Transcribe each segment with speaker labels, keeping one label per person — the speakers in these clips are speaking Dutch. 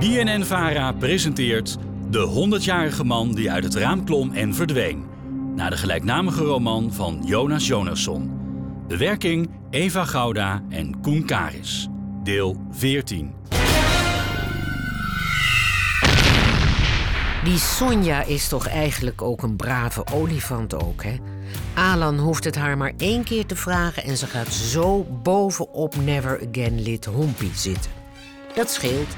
Speaker 1: BNN Vara presenteert De 100-jarige man die uit het raam klom en verdween. Naar de gelijknamige roman van Jonas Jonasson. Bewerking Eva Gouda en Koen Karis. Deel 14.
Speaker 2: Die Sonja is toch eigenlijk ook een brave olifant ook, hè? Alan hoeft het haar maar één keer te vragen en ze gaat zo bovenop Never Again lid Hompie zitten. Dat scheelt.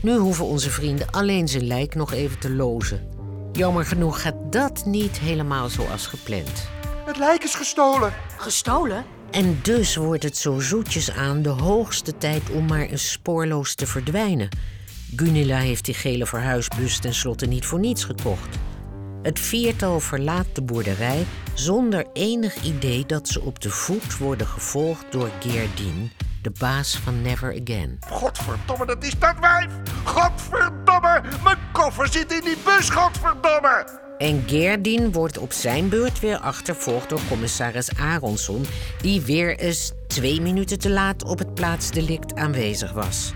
Speaker 2: Nu hoeven onze vrienden alleen zijn lijk nog even te lozen. Jammer genoeg gaat dat niet helemaal zoals gepland.
Speaker 3: Het lijk is gestolen.
Speaker 4: Gestolen?
Speaker 2: En dus wordt het zo zoetjes aan de hoogste tijd om maar eens spoorloos te verdwijnen. Gunilla heeft die gele verhuisbus tenslotte niet voor niets gekocht. Het viertal verlaat de boerderij zonder enig idee dat ze op de voet worden gevolgd door Geerdien, de baas van Never Again.
Speaker 3: Godverdomme, dat is dat wijf. Godverdomme, mijn koffer zit in die bus, godverdomme.
Speaker 2: En Geerdien wordt op zijn beurt weer achtervolgd door commissaris Aronson, die weer eens twee minuten te laat op het plaatsdelict aanwezig was.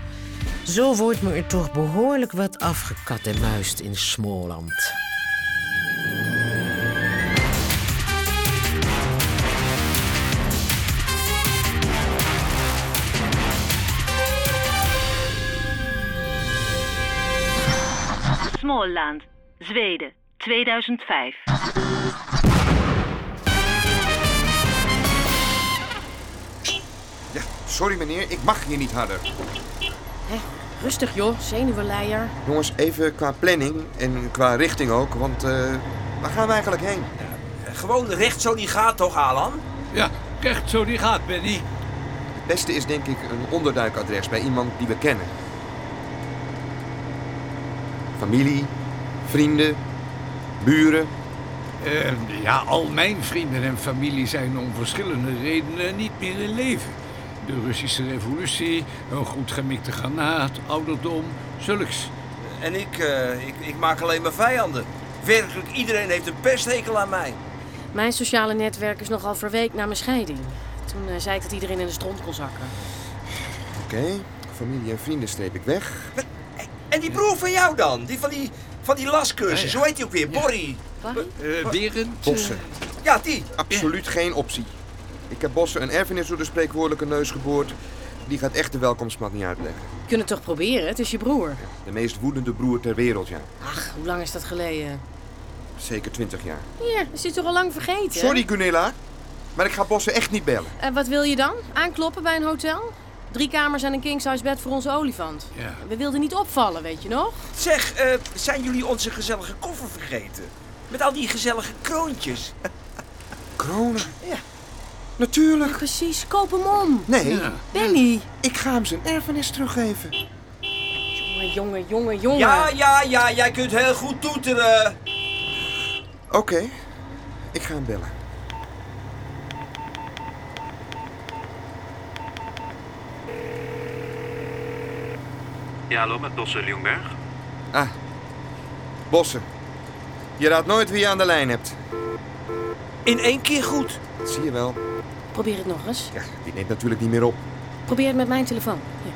Speaker 2: Zo wordt me er toch behoorlijk wat afgekat en muist in Smoland.
Speaker 5: Småland, Zweden, 2005.
Speaker 3: Ja, sorry meneer, ik mag hier niet harder.
Speaker 4: Rustig joh, zenuwenleier.
Speaker 3: Jongens, even qua planning en qua richting ook, want eh, waar gaan we eigenlijk heen?
Speaker 6: Eh, Gewoon recht zo die gaat toch, Alan?
Speaker 7: Ja, echt zo die gaat, Benny.
Speaker 3: Het beste is denk ik een onderduikadres bij iemand die we kennen. Familie, vrienden, buren.
Speaker 7: Eh, ja, al mijn vrienden en familie zijn om verschillende redenen niet meer in leven. De Russische revolutie, een goed gemikte granaat, ouderdom, zulks.
Speaker 6: En ik, eh, ik, ik maak alleen maar vijanden. Werkelijk iedereen heeft een pesthekel aan mij.
Speaker 4: Mijn sociale netwerk is nogal verweekt na mijn scheiding. Toen eh, zei ik dat iedereen in de stront kon zakken.
Speaker 3: Oké, familie en vrienden streep ik weg.
Speaker 6: En die broer van jou dan? Die van die, van die lascursus, hoe heet die ook weer? Borrie?
Speaker 4: Barry?
Speaker 7: Eh Berend?
Speaker 3: Bossen,
Speaker 4: Eh,
Speaker 6: Ja, die.
Speaker 3: absoluut geen optie. Ik heb Bossen een erfenis door de spreekwoordelijke neus geboord. Die gaat echt de welkomstmat niet uitleggen.
Speaker 4: We kunnen het toch proberen, het is je broer.
Speaker 3: De meest woedende broer ter wereld, ja.
Speaker 4: Ach, hoe lang is dat geleden?
Speaker 3: Zeker 20 jaar.
Speaker 4: Hier, is hij toch al lang vergeten?
Speaker 3: Sorry Gunilla, maar ik ga Bossen echt niet bellen.
Speaker 4: En wat wil je dan? Aankloppen bij een hotel? Drie kamers en een kingsize bed voor onze olifant.
Speaker 7: Ja.
Speaker 4: We wilden niet opvallen, weet je nog?
Speaker 6: Zeg, eh, zijn jullie onze gezellige koffer vergeten? Met al die gezellige kroontjes.
Speaker 3: Kronen?
Speaker 6: Ja.
Speaker 3: Natuurlijk.
Speaker 4: Precies, koop hem om.
Speaker 3: Nee,
Speaker 7: Ja.
Speaker 4: Benny.
Speaker 3: ik ga hem zijn erfenis teruggeven.
Speaker 4: Jongen, jongen, jongen, jongen.
Speaker 6: Ja, ja, ja, jij kunt heel goed toeteren.
Speaker 3: Oké, ik ga hem bellen.
Speaker 8: Ja, hallo, met Bosse Ljungberg.
Speaker 3: Ah, Bossen. Je raadt nooit wie je aan de lijn hebt.
Speaker 6: In één keer goed.
Speaker 3: Dat zie je wel.
Speaker 4: Probeer het nog eens.
Speaker 3: Ja, die neemt natuurlijk niet meer op.
Speaker 4: Probeer het met mijn telefoon. Hier.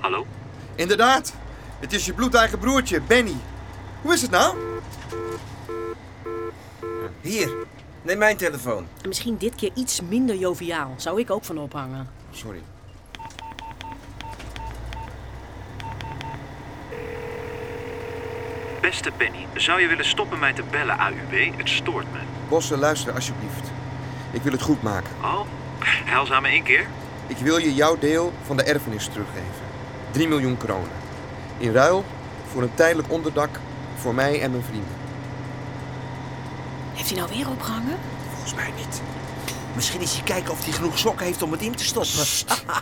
Speaker 8: Hallo?
Speaker 3: Inderdaad, het is je bloedeigen broertje, Benny. Hoe is het nou?
Speaker 6: Hier, neem mijn telefoon.
Speaker 4: Misschien dit keer iets minder joviaal. Zou ik ook van ophangen.
Speaker 3: Sorry.
Speaker 8: Beste Benny, zou je willen stoppen mij te bellen, AUB? Het stoort me.
Speaker 3: Bossen, luister alsjeblieft. Ik wil het goed maken.
Speaker 8: Oh, heilzame één keer.
Speaker 3: Ik wil je jouw deel van de erfenis teruggeven. 3 miljoen kronen. In ruil voor een tijdelijk onderdak voor mij en mijn vrienden.
Speaker 4: Heeft hij nou weer opgehangen?
Speaker 6: Volgens mij niet. Misschien is hij kijken of hij genoeg sokken heeft om het in te stoppen.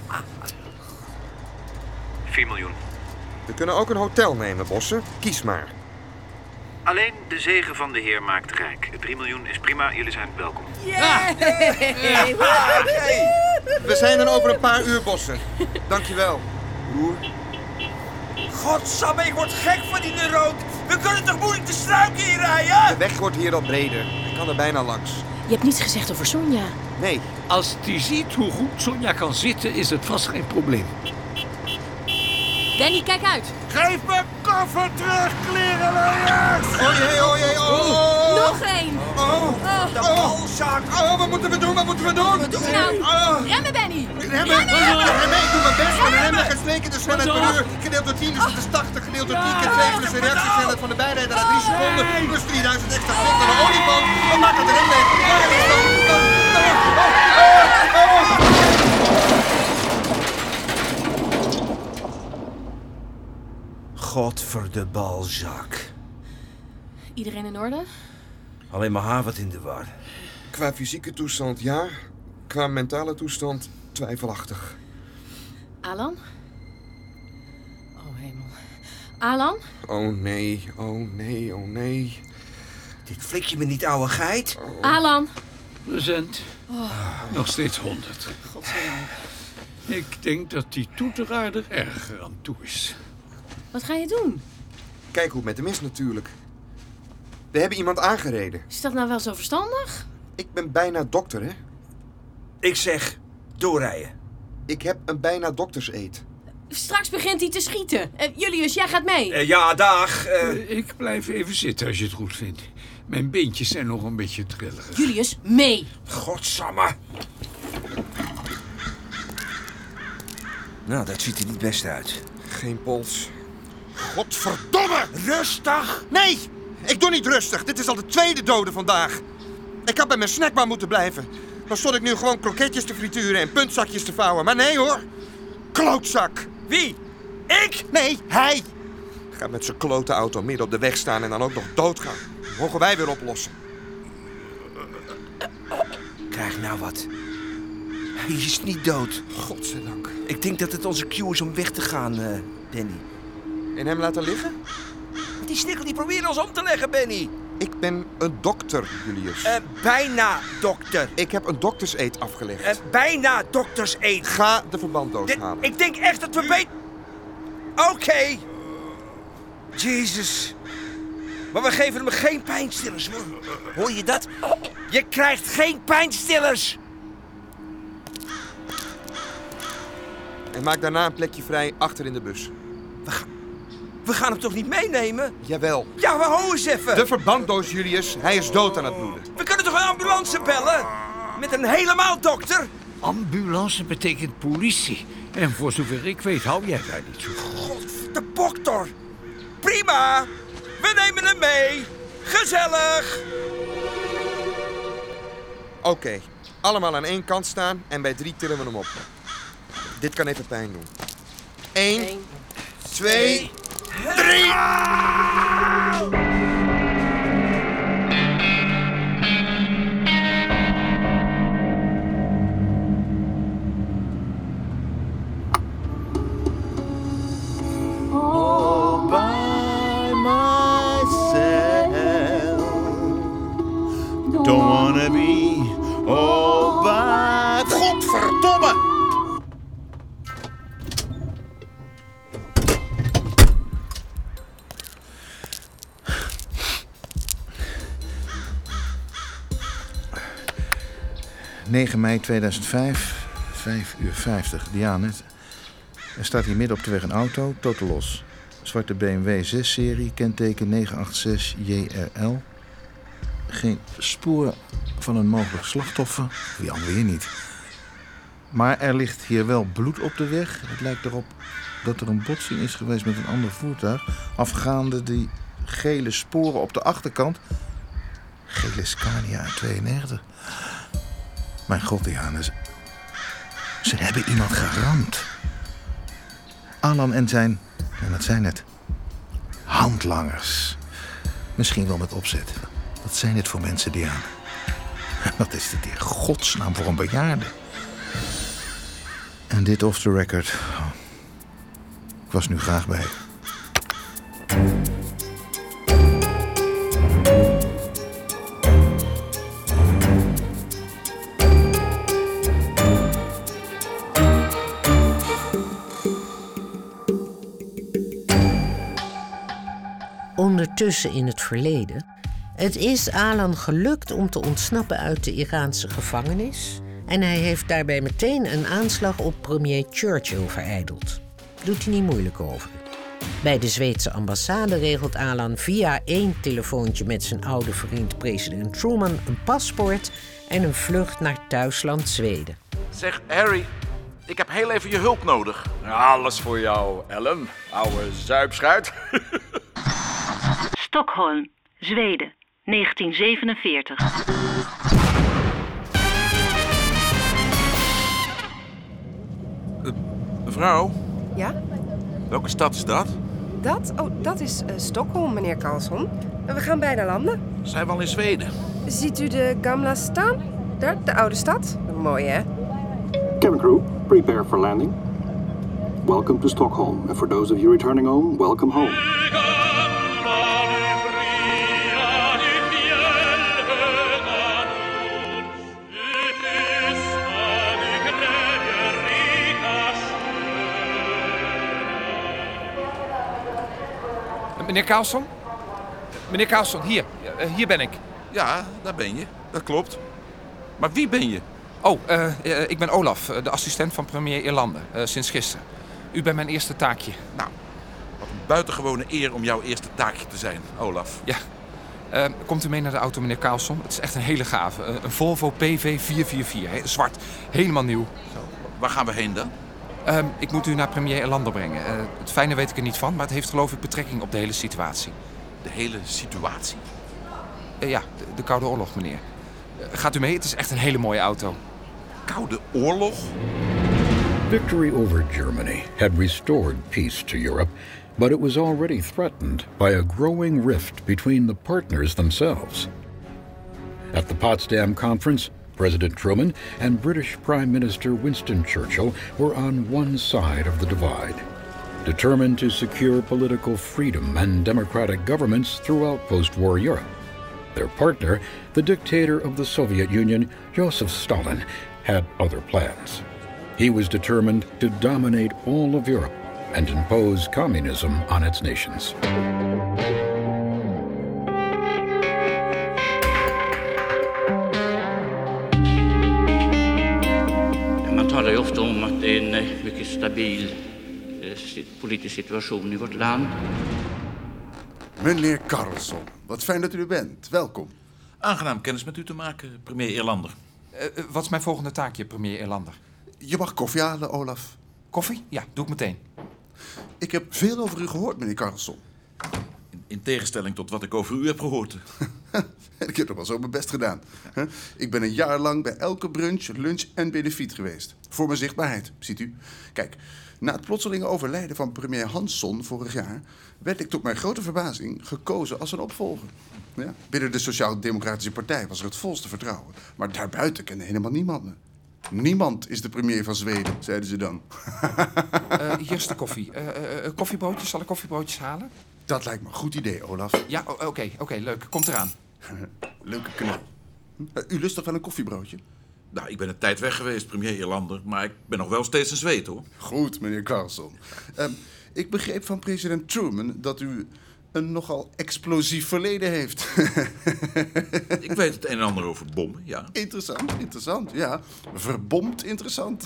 Speaker 8: 4 miljoen.
Speaker 3: We kunnen ook een hotel nemen, Bossen. Kies maar.
Speaker 8: Alleen de zegen van de Heer maakt rijk. 3 miljoen is prima, jullie zijn welkom.
Speaker 3: We zijn er over een paar uur, Bossen. Dankjewel, broer.
Speaker 6: Godsamme, ik word gek van die rood. We kunnen toch moeilijk de struik hier rijden?
Speaker 3: De weg wordt hier al breder. Ik kan er bijna langs.
Speaker 4: Je hebt niets gezegd over Sonja.
Speaker 3: Nee,
Speaker 7: Als die ziet hoe goed Sonja kan zitten, is het vast geen probleem.
Speaker 4: Danny, kijk uit.
Speaker 6: Geef mijn koffer terug, klerenleiers!
Speaker 3: Oei, oei, oei, oei, oh.
Speaker 4: Nog één.
Speaker 3: Oh,
Speaker 4: Oh.
Speaker 6: De balzak!
Speaker 3: oh, wat moeten we doen? Wat moeten we doen? Wat
Speaker 4: doen we nou?
Speaker 6: Eh.
Speaker 3: Oh.
Speaker 4: Remmen, Benny.
Speaker 3: Remmen! Remmen! Ik doe mijn best, maar remmen gesleken de snelheid per uur. Gedeeld door 10, dus dat is 80. Gedeeld door 10 keer 2 plus de reactiesnelheid van de bijrijder na 3 seconden. Plus 3000 extra seconden aan de olieband. Dan maakt het remmen. Ja, dat is dan- dan- dan- oh, oh, oh.
Speaker 6: Godver de balzak.
Speaker 4: Iedereen in orde?
Speaker 6: Alleen maar haar wat in de war.
Speaker 3: Qua fysieke toestand ja, qua mentale toestand twijfelachtig.
Speaker 4: Alan? Oh, hemel. Alan?
Speaker 3: Oh nee, oh nee, oh nee.
Speaker 6: Dit flik je me niet, ouwe geit.
Speaker 4: Alan?
Speaker 7: Present.
Speaker 4: Oh,
Speaker 7: Nog steeds 100.
Speaker 4: Godzijdank.
Speaker 7: Ik denk dat die toeteraar er erger aan toe is.
Speaker 4: Wat ga je doen?
Speaker 3: Kijk hoe het met hem is natuurlijk. We hebben iemand aangereden.
Speaker 4: Is dat nou wel zo verstandig?
Speaker 3: Ik ben bijna dokter, hè?
Speaker 6: Ik zeg, doorrijden.
Speaker 3: Ik heb een bijna dokterseet.
Speaker 4: Straks begint hij te schieten. Eh, Julius, jij gaat mee.
Speaker 6: Eh, ja, dag. eh.
Speaker 7: Eh, Ik blijf even zitten als je het goed vindt. Mijn beentjes zijn nog een beetje trillerig.
Speaker 4: Julius, mee.
Speaker 6: Godsamme. Nou, dat ziet er niet best uit.
Speaker 3: Geen pols. Godverdomme!
Speaker 6: Rustig!
Speaker 3: Nee! Ik doe niet rustig. Dit is al de tweede dode vandaag. Ik had bij mijn snackbar moeten blijven. Dan stond ik nu gewoon kroketjes te frituren en puntzakjes te vouwen. Maar nee hoor. Klootzak!
Speaker 6: Wie? Ik?
Speaker 3: Nee, hij! Gaat met zijn klote auto midden op de weg staan en dan ook nog doodgaan. Mogen wij weer oplossen.
Speaker 6: Krijg nou wat. Hij is niet dood.
Speaker 3: Godzijdank.
Speaker 6: Ik denk dat het onze cue is om weg te gaan, eh, Danny.
Speaker 3: En hem laten liggen?
Speaker 6: Die snikkel die probeert ons om te leggen, Benny.
Speaker 3: Ik ben een dokter, Julius.
Speaker 6: Een Eh, bijna dokter.
Speaker 3: Ik heb een dokterseed afgelegd.
Speaker 6: Een Eh, bijna dokters eet.
Speaker 3: Ga de verbanddoos halen.
Speaker 6: Ik denk echt dat we beter... Oké. Jezus. Maar we geven hem geen pijnstillers, hoor. Hoor je dat? Je krijgt geen pijnstillers.
Speaker 3: En maak daarna een plekje vrij achter in de bus.
Speaker 6: We gaan hem toch niet meenemen?
Speaker 3: Jawel.
Speaker 6: Ja, maar hou eens even.
Speaker 3: De verbanddoos, Julius. Hij is dood aan het bloeden.
Speaker 6: We kunnen toch een ambulance bellen? Met een helemaal dokter?
Speaker 7: Ambulance betekent politie. En voor zover ik weet, hou jij daar niet zo van.
Speaker 6: God, de dokter. Prima. We nemen hem mee. Gezellig.
Speaker 3: Oké. Allemaal aan één kant staan en bij drie tillen we hem op. Dit kan even pijn doen. Eén,
Speaker 4: Eén.
Speaker 3: twee, drie!
Speaker 9: Don't wanna be all by Godverdomme! ...9 mei 2005, 5 uur 50, Diane. Er staat hier midden op de weg een auto, tot los. Zwarte BMW 6-serie, kenteken 986JRL geen spoor van een mogelijk slachtoffer. Wie dan weer niet. Maar er ligt hier wel bloed op de weg. Het lijkt erop dat er een botsing is geweest met een ander voertuig. Afgaande die gele sporen op de achterkant. Gele Scania uit 92. Mijn god, Janus. Ze hebben iemand geramd. Alan en zijn, en dat zijn het, handlangers. Misschien wel met opzet. Wat zijn dit voor mensen, Diana? Wat is dit in godsnaam voor een bejaarde? En dit off the record. Oh, Ik was nu graag bij.
Speaker 2: Ondertussen in het verleden Het is Alan gelukt om te ontsnappen uit de Iraanse gevangenis. En hij heeft daarbij meteen een aanslag op premier Churchill verijdeld. Doet hij niet moeilijk over. Bij de Zweedse ambassade regelt Alan via één telefoontje met zijn oude vriend president Truman een paspoort en een vlucht naar thuisland Zweden.
Speaker 10: Zeg, Harry, ik heb heel even je hulp nodig.
Speaker 11: Alles voor jou, Ellen. Oude zuipschuit.
Speaker 5: Stockholm, Zweden, 1947.
Speaker 10: Mevrouw,
Speaker 12: Ja?
Speaker 10: welke stad is dat?
Speaker 12: Dat? Oh, dat is eh, Stockholm, meneer Carlson. We gaan bijna landen.
Speaker 10: Zijn we al in Zweden?
Speaker 12: Ziet u de Gamla staan? Daar, de oude stad. Mooi, hè?
Speaker 13: Cabin crew, prepare for landing. Welcome to Stockholm, and for those of you returning home, welcome home.
Speaker 6: Meneer Carlson? Meneer Carlson, hier. Eh, hier ben ik.
Speaker 10: Ja, daar ben je. Dat klopt. Maar wie ben je?
Speaker 6: Oh, eh, eh, ik ben Olaf, eh, de assistent van premier Irlande, eh, sinds gisteren. U bent mijn eerste taakje.
Speaker 10: Nou, wat een buitengewone eer om jouw eerste taakje te zijn, Olaf.
Speaker 6: Ja. Eh, komt u mee naar de auto, meneer Carlson? Het is echt een hele gave. Eh, een Volvo PV444, hè, zwart. Helemaal nieuw.
Speaker 10: Waar gaan we heen dan?
Speaker 6: Ehm, ik moet u naar premier Erlander brengen. Eh, het fijne weet ik er niet van, maar het heeft geloof ik betrekking op de hele situatie. Eh,
Speaker 10: De hele situatie?
Speaker 6: ja, de, de Koude Oorlog, meneer. Eh, gaat u mee? Het is echt een hele mooie auto.
Speaker 10: Koude Oorlog?
Speaker 14: Victory over Germany had restored peace to Europe, but it was already threatened by a growing rift between the partners themselves. At the Potsdam Conference, President Truman and British Prime Minister Winston Churchill were on one side of the divide, determined to secure political freedom and democratic governments throughout post war Europe. Their partner, the dictator of the Soviet Union, Joseph Stalin, had other plans. He was determined to dominate all of Europe and impose communism on its nations.
Speaker 15: Man talar ju ofta om att det är en eh, mycket stabil eh, si- politisk situation i vårt land.
Speaker 16: Meneer Carlson, wat fijn dat u er bent. Welkom.
Speaker 10: Aangenaam kennis met u te maken, premier Irlander.
Speaker 6: Eh, wat is mijn volgende taakje, premier Erlander?
Speaker 16: Je mag koffie halen, Olaf.
Speaker 6: Koffie? Ja, doe ik meteen.
Speaker 16: Ik heb veel over u gehoord, meneer Carlson.
Speaker 10: In tegenstelling tot wat ik over u heb gehoord.
Speaker 16: ik heb nog wel zo mijn best gedaan. Hè? Ik ben een jaar lang bij elke brunch, lunch en benefiet geweest. Voor mijn zichtbaarheid, ziet u. Kijk, na het plotselinge overlijden van premier Hansson vorig jaar... werd ik tot mijn grote verbazing gekozen als een opvolger. Ja? Binnen de Sociaal-Democratische Partij was er het volste vertrouwen. Maar daarbuiten kende helemaal niemand me. Niemand is de premier van Zweden, zeiden ze dan.
Speaker 6: Eh, hier is de koffie. Eh, eh, eh, koffiebroodjes, zal ik koffiebroodjes halen?
Speaker 16: Dat lijkt me een goed idee, Olaf.
Speaker 6: Ja, o- oké, oké, leuk. Komt eraan.
Speaker 16: Leuke knal. Eh, U lust toch wel een koffiebroodje?
Speaker 10: Nou, ik ben een tijd weg geweest, premier Irlander, maar ik ben nog wel steeds een zweet, hoor.
Speaker 16: Goed, meneer Carlson. Ehm, ik begreep van president Truman dat u een nogal explosief verleden heeft.
Speaker 10: Ik weet het een en ander over bommen, ja.
Speaker 16: interessant, interessant, ja. Verbomd interessant.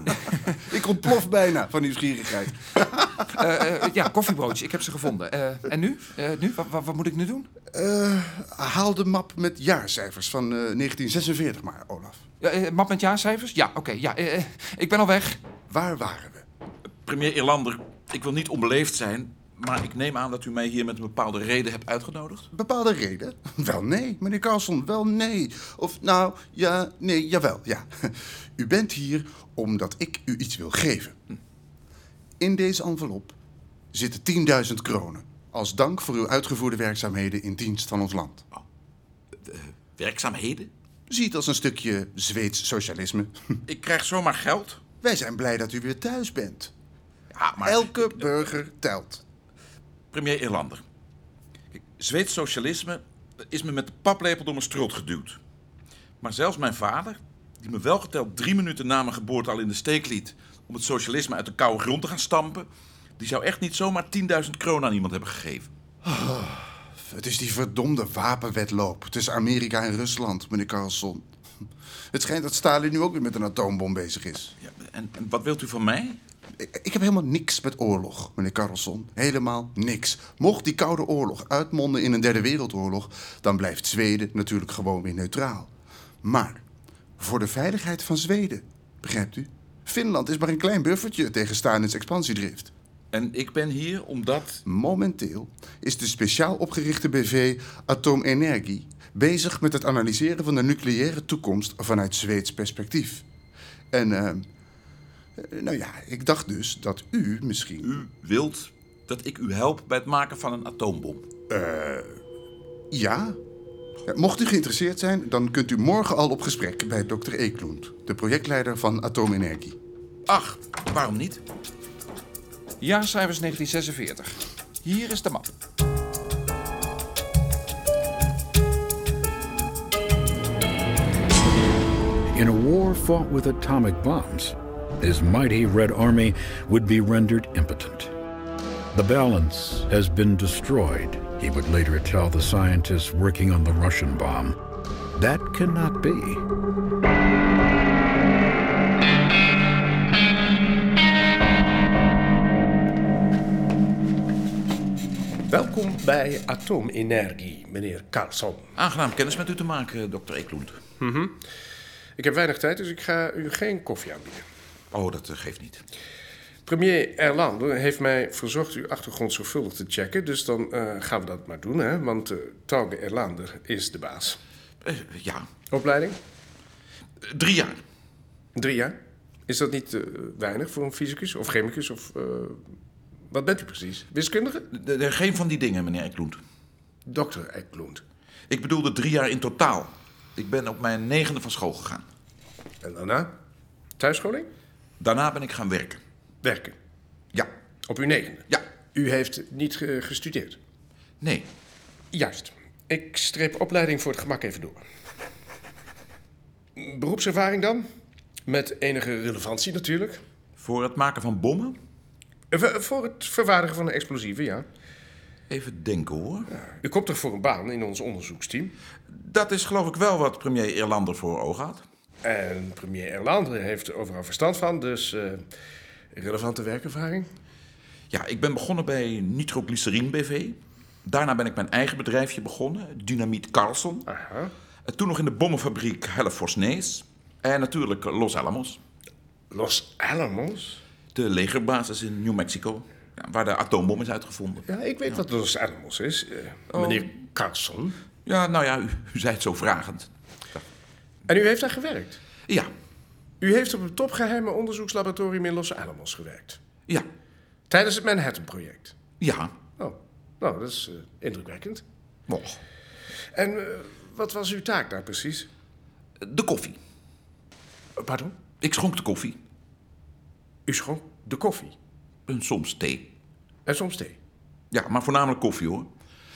Speaker 16: ik ontplof bijna van nieuwsgierigheid.
Speaker 6: Eh, eh, ja, koffiebroodjes, ik heb ze gevonden. Eh, en nu? Eh, nu? Wa- wa- wat moet ik nu doen?
Speaker 16: Eh, haal de map met jaarcijfers van eh, 1946 maar, Olaf.
Speaker 6: Eh, eh, map met jaarcijfers? Ja, oké, ja. eh, eh, ik ben al weg.
Speaker 16: Waar waren we?
Speaker 10: Premier Irlander, ik wil niet onbeleefd zijn, maar ik neem aan dat u mij hier met een bepaalde reden hebt uitgenodigd.
Speaker 16: Bepaalde reden? Wel nee, meneer Carlson, wel nee. Of nou, ja, nee, jawel, ja. U bent hier omdat ik u iets wil geven. In deze envelop zitten 10.000 kronen. Als dank voor uw uitgevoerde werkzaamheden in dienst van ons land.
Speaker 10: Oh. Eh, Werkzaamheden?
Speaker 16: Ziet als een stukje Zweeds socialisme.
Speaker 10: Ik krijg zomaar geld?
Speaker 16: Wij zijn blij dat u weer thuis bent.
Speaker 10: Ja, maar...
Speaker 16: Elke burger telt.
Speaker 10: Premier Irlander, kijk, Zweeds socialisme is me met de paplepel door mijn strot geduwd. Maar zelfs mijn vader, die me wel geteld drie minuten na mijn geboorte al in de steek liet... om het socialisme uit de koude grond te gaan stampen... die zou echt niet zomaar 10.000 kronen aan iemand hebben gegeven.
Speaker 16: Het is die verdomde wapenwedloop tussen Amerika en Rusland, meneer Carlson. Het schijnt dat Stalin nu ook weer met een atoombom bezig is.
Speaker 10: en, wat wilt u van mij?
Speaker 16: Ik, ik heb helemaal niks met oorlog, meneer Carlson. Helemaal niks. Mocht die Koude Oorlog uitmonden in een derde wereldoorlog, dan blijft Zweden natuurlijk gewoon weer neutraal. Maar voor de veiligheid van Zweden, begrijpt u? Finland is maar een klein buffertje tegen Stalins expansiedrift.
Speaker 10: En ik ben hier omdat.
Speaker 16: Momenteel is de speciaal opgerichte BV Atoomenergie bezig met het analyseren van de nucleaire toekomst vanuit Zweeds perspectief. En, ehm, eh, nou ja, ik dacht dus dat u misschien.
Speaker 10: U wilt dat ik u help bij het maken van een atoombom.
Speaker 16: Eh, ja. Ja, Mocht u geïnteresseerd zijn, dan kunt u morgen al op gesprek bij Dr. Eklund, de projectleider van Atoomenergie.
Speaker 10: Ach, waarom niet? Jaarcijfers 1946. Hier is de map.
Speaker 14: In a war fought with atomic bombs, his mighty Red Army would be rendered impotent. The balance has been destroyed, he would later tell the scientists working on the Russian bomb. That cannot be.
Speaker 17: Welkom bij Atoomenergie, meneer Carlson.
Speaker 10: Aangenaam kennis met u te maken, dokter Eklund.
Speaker 17: Mhm. Ik heb weinig tijd, dus ik ga u geen koffie aanbieden.
Speaker 10: Oh, dat eh, geeft niet.
Speaker 17: Premier Erlander heeft mij verzocht uw achtergrond zorgvuldig te checken, dus dan eh, gaan we dat maar doen, hè? Want eh Tauge Erlander is de baas.
Speaker 10: Eh, ja.
Speaker 17: Opleiding?
Speaker 10: drie jaar.
Speaker 17: Drie jaar? Is dat niet eh, weinig voor een fysicus of chemicus of... eh, wat bent u precies? Wiskundige?
Speaker 10: geen van die dingen, meneer Eklund.
Speaker 17: Dokter Eklund.
Speaker 10: Ik bedoelde drie jaar in totaal. Ik ben op mijn negende van school gegaan.
Speaker 17: En daarna? Thuisscholing?
Speaker 10: Daarna ben ik gaan werken.
Speaker 17: Werken?
Speaker 10: Ja.
Speaker 17: Op uw negende?
Speaker 10: Ja.
Speaker 17: U heeft niet eh, gestudeerd?
Speaker 10: Nee.
Speaker 17: Juist. Ik streep opleiding voor het gemak even door. Beroepservaring dan? Met enige relevantie natuurlijk. Eh,
Speaker 10: Voor het maken van bommen?
Speaker 17: voor het vervaardigen van explosieven, ja.
Speaker 10: Even denken hoor.
Speaker 17: U komt toch voor een baan in ons onderzoeksteam?
Speaker 10: Dat is geloof ik wel wat premier Erlander voor ogen had.
Speaker 17: En premier Erlander heeft er overal verstand van, dus eh, relevante werkervaring.
Speaker 10: Ja, ik ben begonnen bij Nitroglycerine BV. Daarna ben ik mijn eigen bedrijfje begonnen, Dynamiet Carlson. En toen nog in de bommenfabriek Hellevorsnees. En natuurlijk Los Alamos.
Speaker 17: Los Alamos?
Speaker 10: De legerbasis in New Mexico, ja, waar de atoombom is uitgevonden.
Speaker 17: Ja, ik weet wat Los Alamos is. eh, Meneer Carlson.
Speaker 10: Oh. Ja, nou ja, u, u zei het zo vragend.
Speaker 17: En u heeft daar gewerkt?
Speaker 10: Ja.
Speaker 17: U heeft op een topgeheime onderzoekslaboratorium in Los Alamos gewerkt?
Speaker 10: Ja.
Speaker 17: Tijdens het Manhattan-project?
Speaker 10: Ja.
Speaker 17: Oh, nou, dat is eh, indrukwekkend.
Speaker 10: Nog.
Speaker 17: En eh, wat was uw taak daar precies?
Speaker 10: De koffie.
Speaker 17: Pardon?
Speaker 10: Ik schonk de koffie.
Speaker 17: U schonk de koffie?
Speaker 10: En soms thee.
Speaker 17: En soms thee?
Speaker 10: Ja, maar voornamelijk koffie hoor.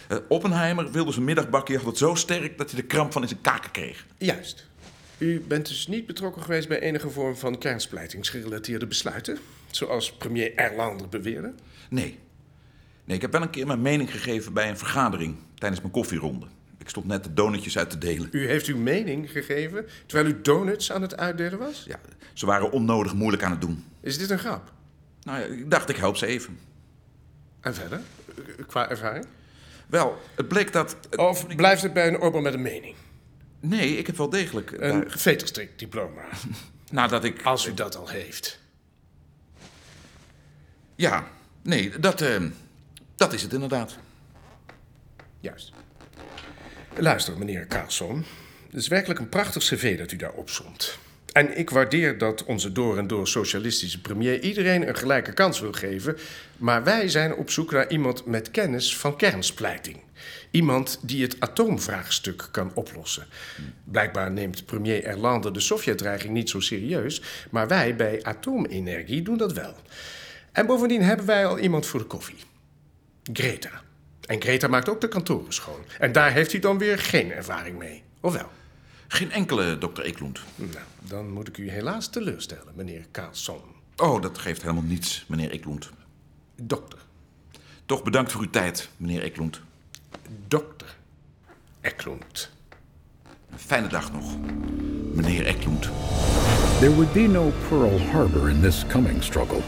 Speaker 10: Eh, Oppenheimer wilde zijn middagbakje altijd zo sterk dat hij de kramp van in zijn kaken kreeg.
Speaker 17: Juist. U bent dus niet betrokken geweest bij enige vorm van kernsplijtingsgerelateerde besluiten? Zoals premier Erlander beweerde?
Speaker 10: Nee. Nee, ik heb wel een keer mijn mening gegeven bij een vergadering tijdens mijn koffieronde. Ik stond net de donutjes uit te delen.
Speaker 17: U heeft uw mening gegeven terwijl u donuts aan het uitdelen was?
Speaker 10: Ja. Ze waren onnodig moeilijk aan het doen.
Speaker 17: Is dit een grap?
Speaker 10: Nou ja, ik dacht, ik help ze even.
Speaker 17: En verder? Qua ervaring?
Speaker 10: Wel, het bleek dat...
Speaker 17: Of blijft het bij een oorlog met een mening?
Speaker 10: Nee, ik heb wel degelijk...
Speaker 17: Een
Speaker 10: daar-
Speaker 17: veterstrikdiploma.
Speaker 10: Nadat ik...
Speaker 17: Als u dat al heeft.
Speaker 10: Ja, nee, dat, eh, dat is het inderdaad.
Speaker 17: Juist. Luister, meneer Carlson. Het is werkelijk een prachtig cv dat u daar opzomt. En ik waardeer dat onze door en door socialistische premier iedereen een gelijke kans wil geven. Maar wij zijn op zoek naar iemand met kennis van kernsplijting. Iemand die het atoomvraagstuk kan oplossen. Blijkbaar neemt premier Erlander de Sovjet-dreiging niet zo serieus. Maar wij bij Atoomenergie doen dat wel. En bovendien hebben wij al iemand voor de koffie. Greta. En Greta maakt ook de kantoren schoon. En daar heeft u dan weer geen ervaring mee, of wel?
Speaker 10: Geen enkele, dokter Eklund.
Speaker 17: Nou, dan moet ik u helaas teleurstellen, meneer Carlson.
Speaker 10: Oh, dat geeft helemaal niets, meneer Eklund.
Speaker 17: Dokter.
Speaker 10: Toch bedankt voor uw tijd, meneer Eklund.
Speaker 17: dokter Eklund.
Speaker 10: Fijne dag nog, meneer Eklund.
Speaker 14: There would be no Pearl Harbor in this coming struggle,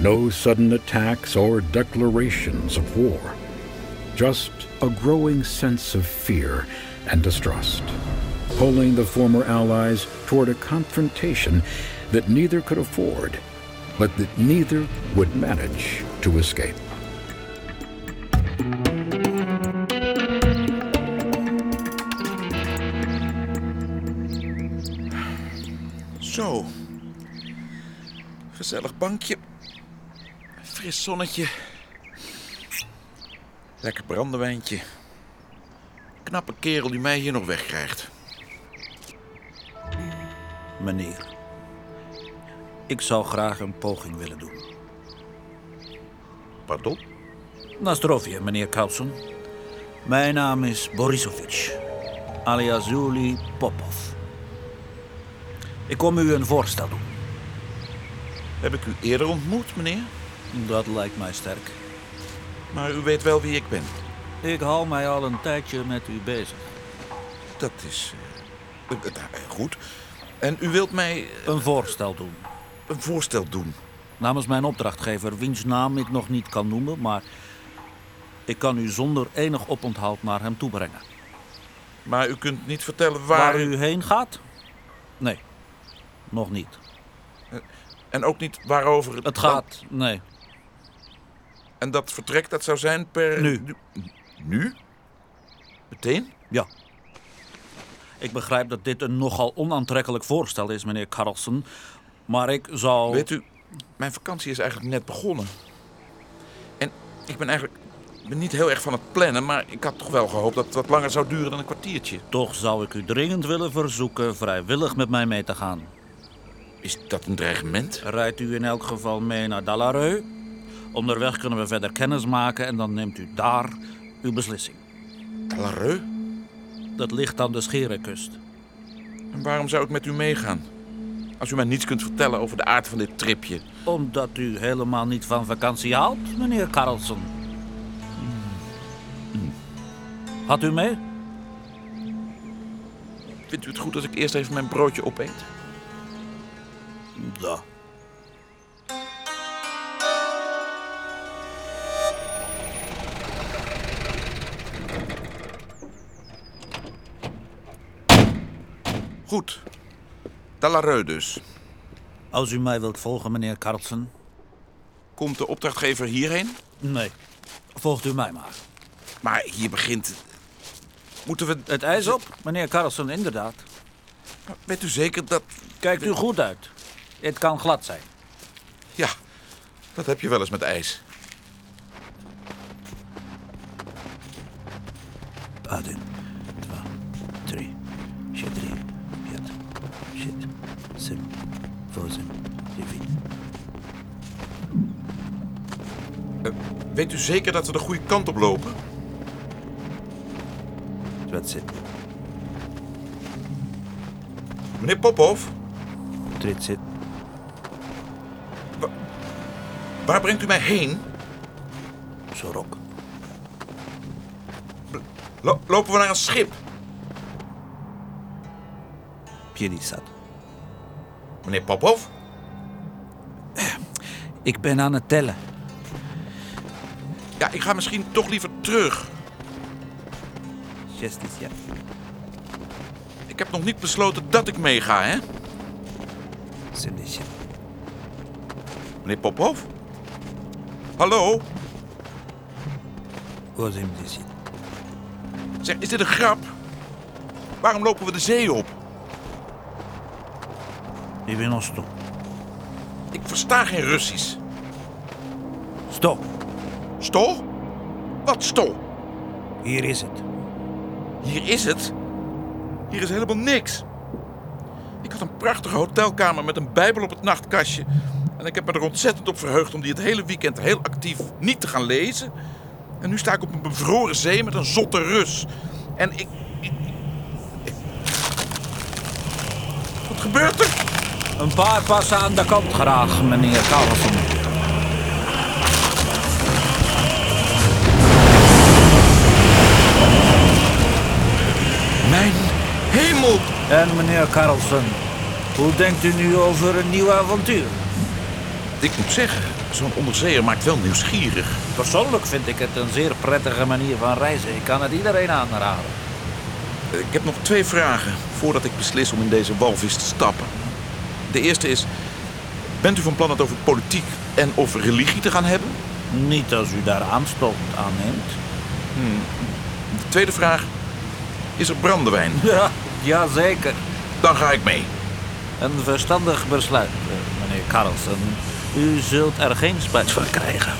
Speaker 14: no sudden attacks or declarations of war, just a growing sense of fear and distrust, pulling the former allies toward a confrontation that neither could afford, but that neither would manage to escape.
Speaker 10: Zo. Gezellig bankje. Fris zonnetje. Lekker brandewijntje. Knappe kerel die mij hier nog wegkrijgt.
Speaker 18: Meneer, ik zou graag een poging willen doen.
Speaker 10: Pardon?
Speaker 18: Nastrovje, meneer Carlson. Mijn naam is Borisovic, alias Juli Popov. Ik kom u een voorstel doen.
Speaker 10: Heb ik u eerder ontmoet, meneer?
Speaker 18: Dat lijkt mij sterk.
Speaker 10: Maar u weet wel wie ik ben.
Speaker 18: Ik hou mij al een tijdje met u bezig.
Speaker 10: Dat is eh, eh, nou, eh, goed. En u wilt mij... eh,
Speaker 18: Een voorstel doen.
Speaker 10: Een voorstel doen?
Speaker 18: Namens mijn opdrachtgever, wiens naam ik nog niet kan noemen, maar ik kan u zonder enig oponthoud naar hem toe brengen.
Speaker 10: Maar u kunt niet vertellen waar...
Speaker 18: Waar u heen gaat? Nee, nog niet.
Speaker 10: En ook niet waarover het,
Speaker 18: Het gaat, nee.
Speaker 10: En dat vertrek, dat zou zijn per...
Speaker 18: Nu.
Speaker 10: Nu? Meteen?
Speaker 18: Ja. Ik begrijp dat dit een nogal onaantrekkelijk voorstel is, meneer Carlsen. Maar ik zou...
Speaker 10: Weet u, mijn vakantie is eigenlijk net begonnen. En ik ben eigenlijk ik ben niet heel erg van het plannen, maar ik had toch wel gehoopt dat het wat langer zou duren dan een kwartiertje.
Speaker 18: Toch zou ik u dringend willen verzoeken vrijwillig met mij mee te gaan.
Speaker 10: Is dat een dreigement?
Speaker 18: Rijdt u in elk geval mee naar Dalareu. Onderweg kunnen we verder kennis maken en dan neemt u daar uw beslissing.
Speaker 10: Dalareu?
Speaker 18: Dat ligt aan de Scherenkust.
Speaker 10: En waarom zou ik met u meegaan? Als u mij niets kunt vertellen over de aard van dit tripje.
Speaker 18: Omdat u helemaal niet van vakantie houdt, meneer Carlsen. Had u mee?
Speaker 10: Vindt u het goed als ik eerst even mijn broodje opeet?
Speaker 18: Ja.
Speaker 10: Goed. Dalareu dus.
Speaker 18: Als u mij wilt volgen, meneer Carlsen.
Speaker 10: Komt de opdrachtgever hierheen?
Speaker 18: Nee. Volgt u mij maar.
Speaker 10: Maar hier begint... Moeten we...
Speaker 18: Het ijs op, meneer Carlsen, inderdaad.
Speaker 10: Weet u zeker dat...
Speaker 18: Kijkt u goed uit. Het kan glad zijn.
Speaker 10: Ja, dat heb je wel eens met ijs.
Speaker 18: Один, два, три, четыре, пять, шесть, семь, восемь, девять.
Speaker 10: Eh, Weet u zeker dat ze de goede kant op lopen?
Speaker 18: 20,
Speaker 10: Meneer Popov,
Speaker 18: 30,
Speaker 10: waar brengt u mij heen?
Speaker 18: Sorok.
Speaker 10: Lo- lopen we naar een schip?
Speaker 18: 50.
Speaker 10: Meneer Popov?
Speaker 18: Ik ben aan het tellen.
Speaker 10: Ja, ik ga misschien toch liever terug.
Speaker 18: 60, ja.
Speaker 10: Ik heb nog niet besloten dat ik meega, hè?
Speaker 18: 70.
Speaker 10: Meneer Popov? Hallo?
Speaker 18: 80.
Speaker 10: Zeg, is dit een grap? Waarom lopen we de zee op?
Speaker 18: 90.
Speaker 10: Ik versta geen Russisch.
Speaker 18: Stop.
Speaker 10: Sto? Wat sto?
Speaker 18: Hier is het.
Speaker 10: Hier is het. Hier is helemaal niks. Ik had een prachtige hotelkamer met een bijbel op het nachtkastje. En ik heb me er ontzettend op verheugd om die het hele weekend heel actief niet te gaan lezen. En nu sta ik op een bevroren zee met een zotte Rus. En ik... ik- ik- Wat gebeurt er?
Speaker 18: Een paar passen aan de kant graag, meneer Carlsen. Mijn hemel! En meneer Carlsen, hoe denkt u nu over een nieuw avontuur?
Speaker 10: Ik moet zeggen, zo'n onderzeeër maakt wel nieuwsgierig.
Speaker 18: Persoonlijk vind ik het een zeer prettige manier van reizen. Ik kan het iedereen aanraden.
Speaker 10: Eh, Ik heb nog twee vragen voordat ik beslis om in deze walvis te stappen. De eerste is, bent u van plan het over politiek en over religie te gaan hebben?
Speaker 18: Niet als u daar aanstoot aan neemt.
Speaker 3: Hmm.
Speaker 10: De tweede vraag, is er brandewijn?
Speaker 18: Ja, jazeker.
Speaker 10: Dan ga ik mee.
Speaker 18: Een verstandig besluit, eh, meneer Carlsen. U zult er geen spijt van krijgen.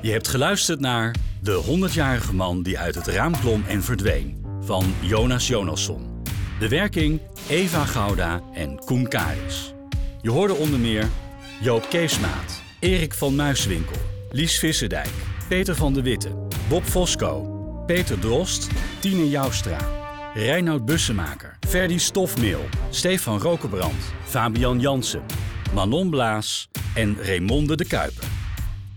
Speaker 1: Je hebt geluisterd naar De 100-jarige man die uit het raam klom en verdween van Jonas Jonasson. De werking Eva Gouda en Koen Karis. Je hoorde onder meer Joop Keesmaat, Erik van Muiswinkel, Lies Visserdijk, Peter van de Witte, Bob Fosco, Peter Drost, Tine Joustra, Reinoud Bussemaker, Ferdy Stofmeel, Stefan Rokenbrand, Fabian Jansen, Manon Blaas en Raymonde de Kuiper.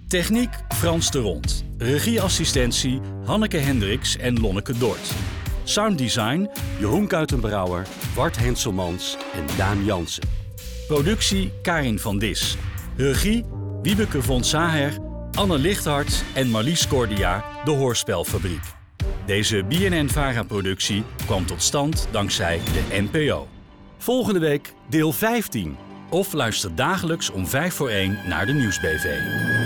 Speaker 1: Techniek Frans de Rond. Regieassistentie Hanneke Hendricks en Lonneke Dort. Sounddesign Jeroen Kuitenbrouwer, Bart Henselmans en Daan Jansen. Productie Karin van Dis. Regie Wiebeke von Saher, Anne Lichthart en Marlies Cordia, de Hoorspelfabriek. Deze BNN-Vara-productie kwam tot stand dankzij de NPO. Volgende week deel 15. Of luister dagelijks om 5 voor 1 naar de Nieuwsbv.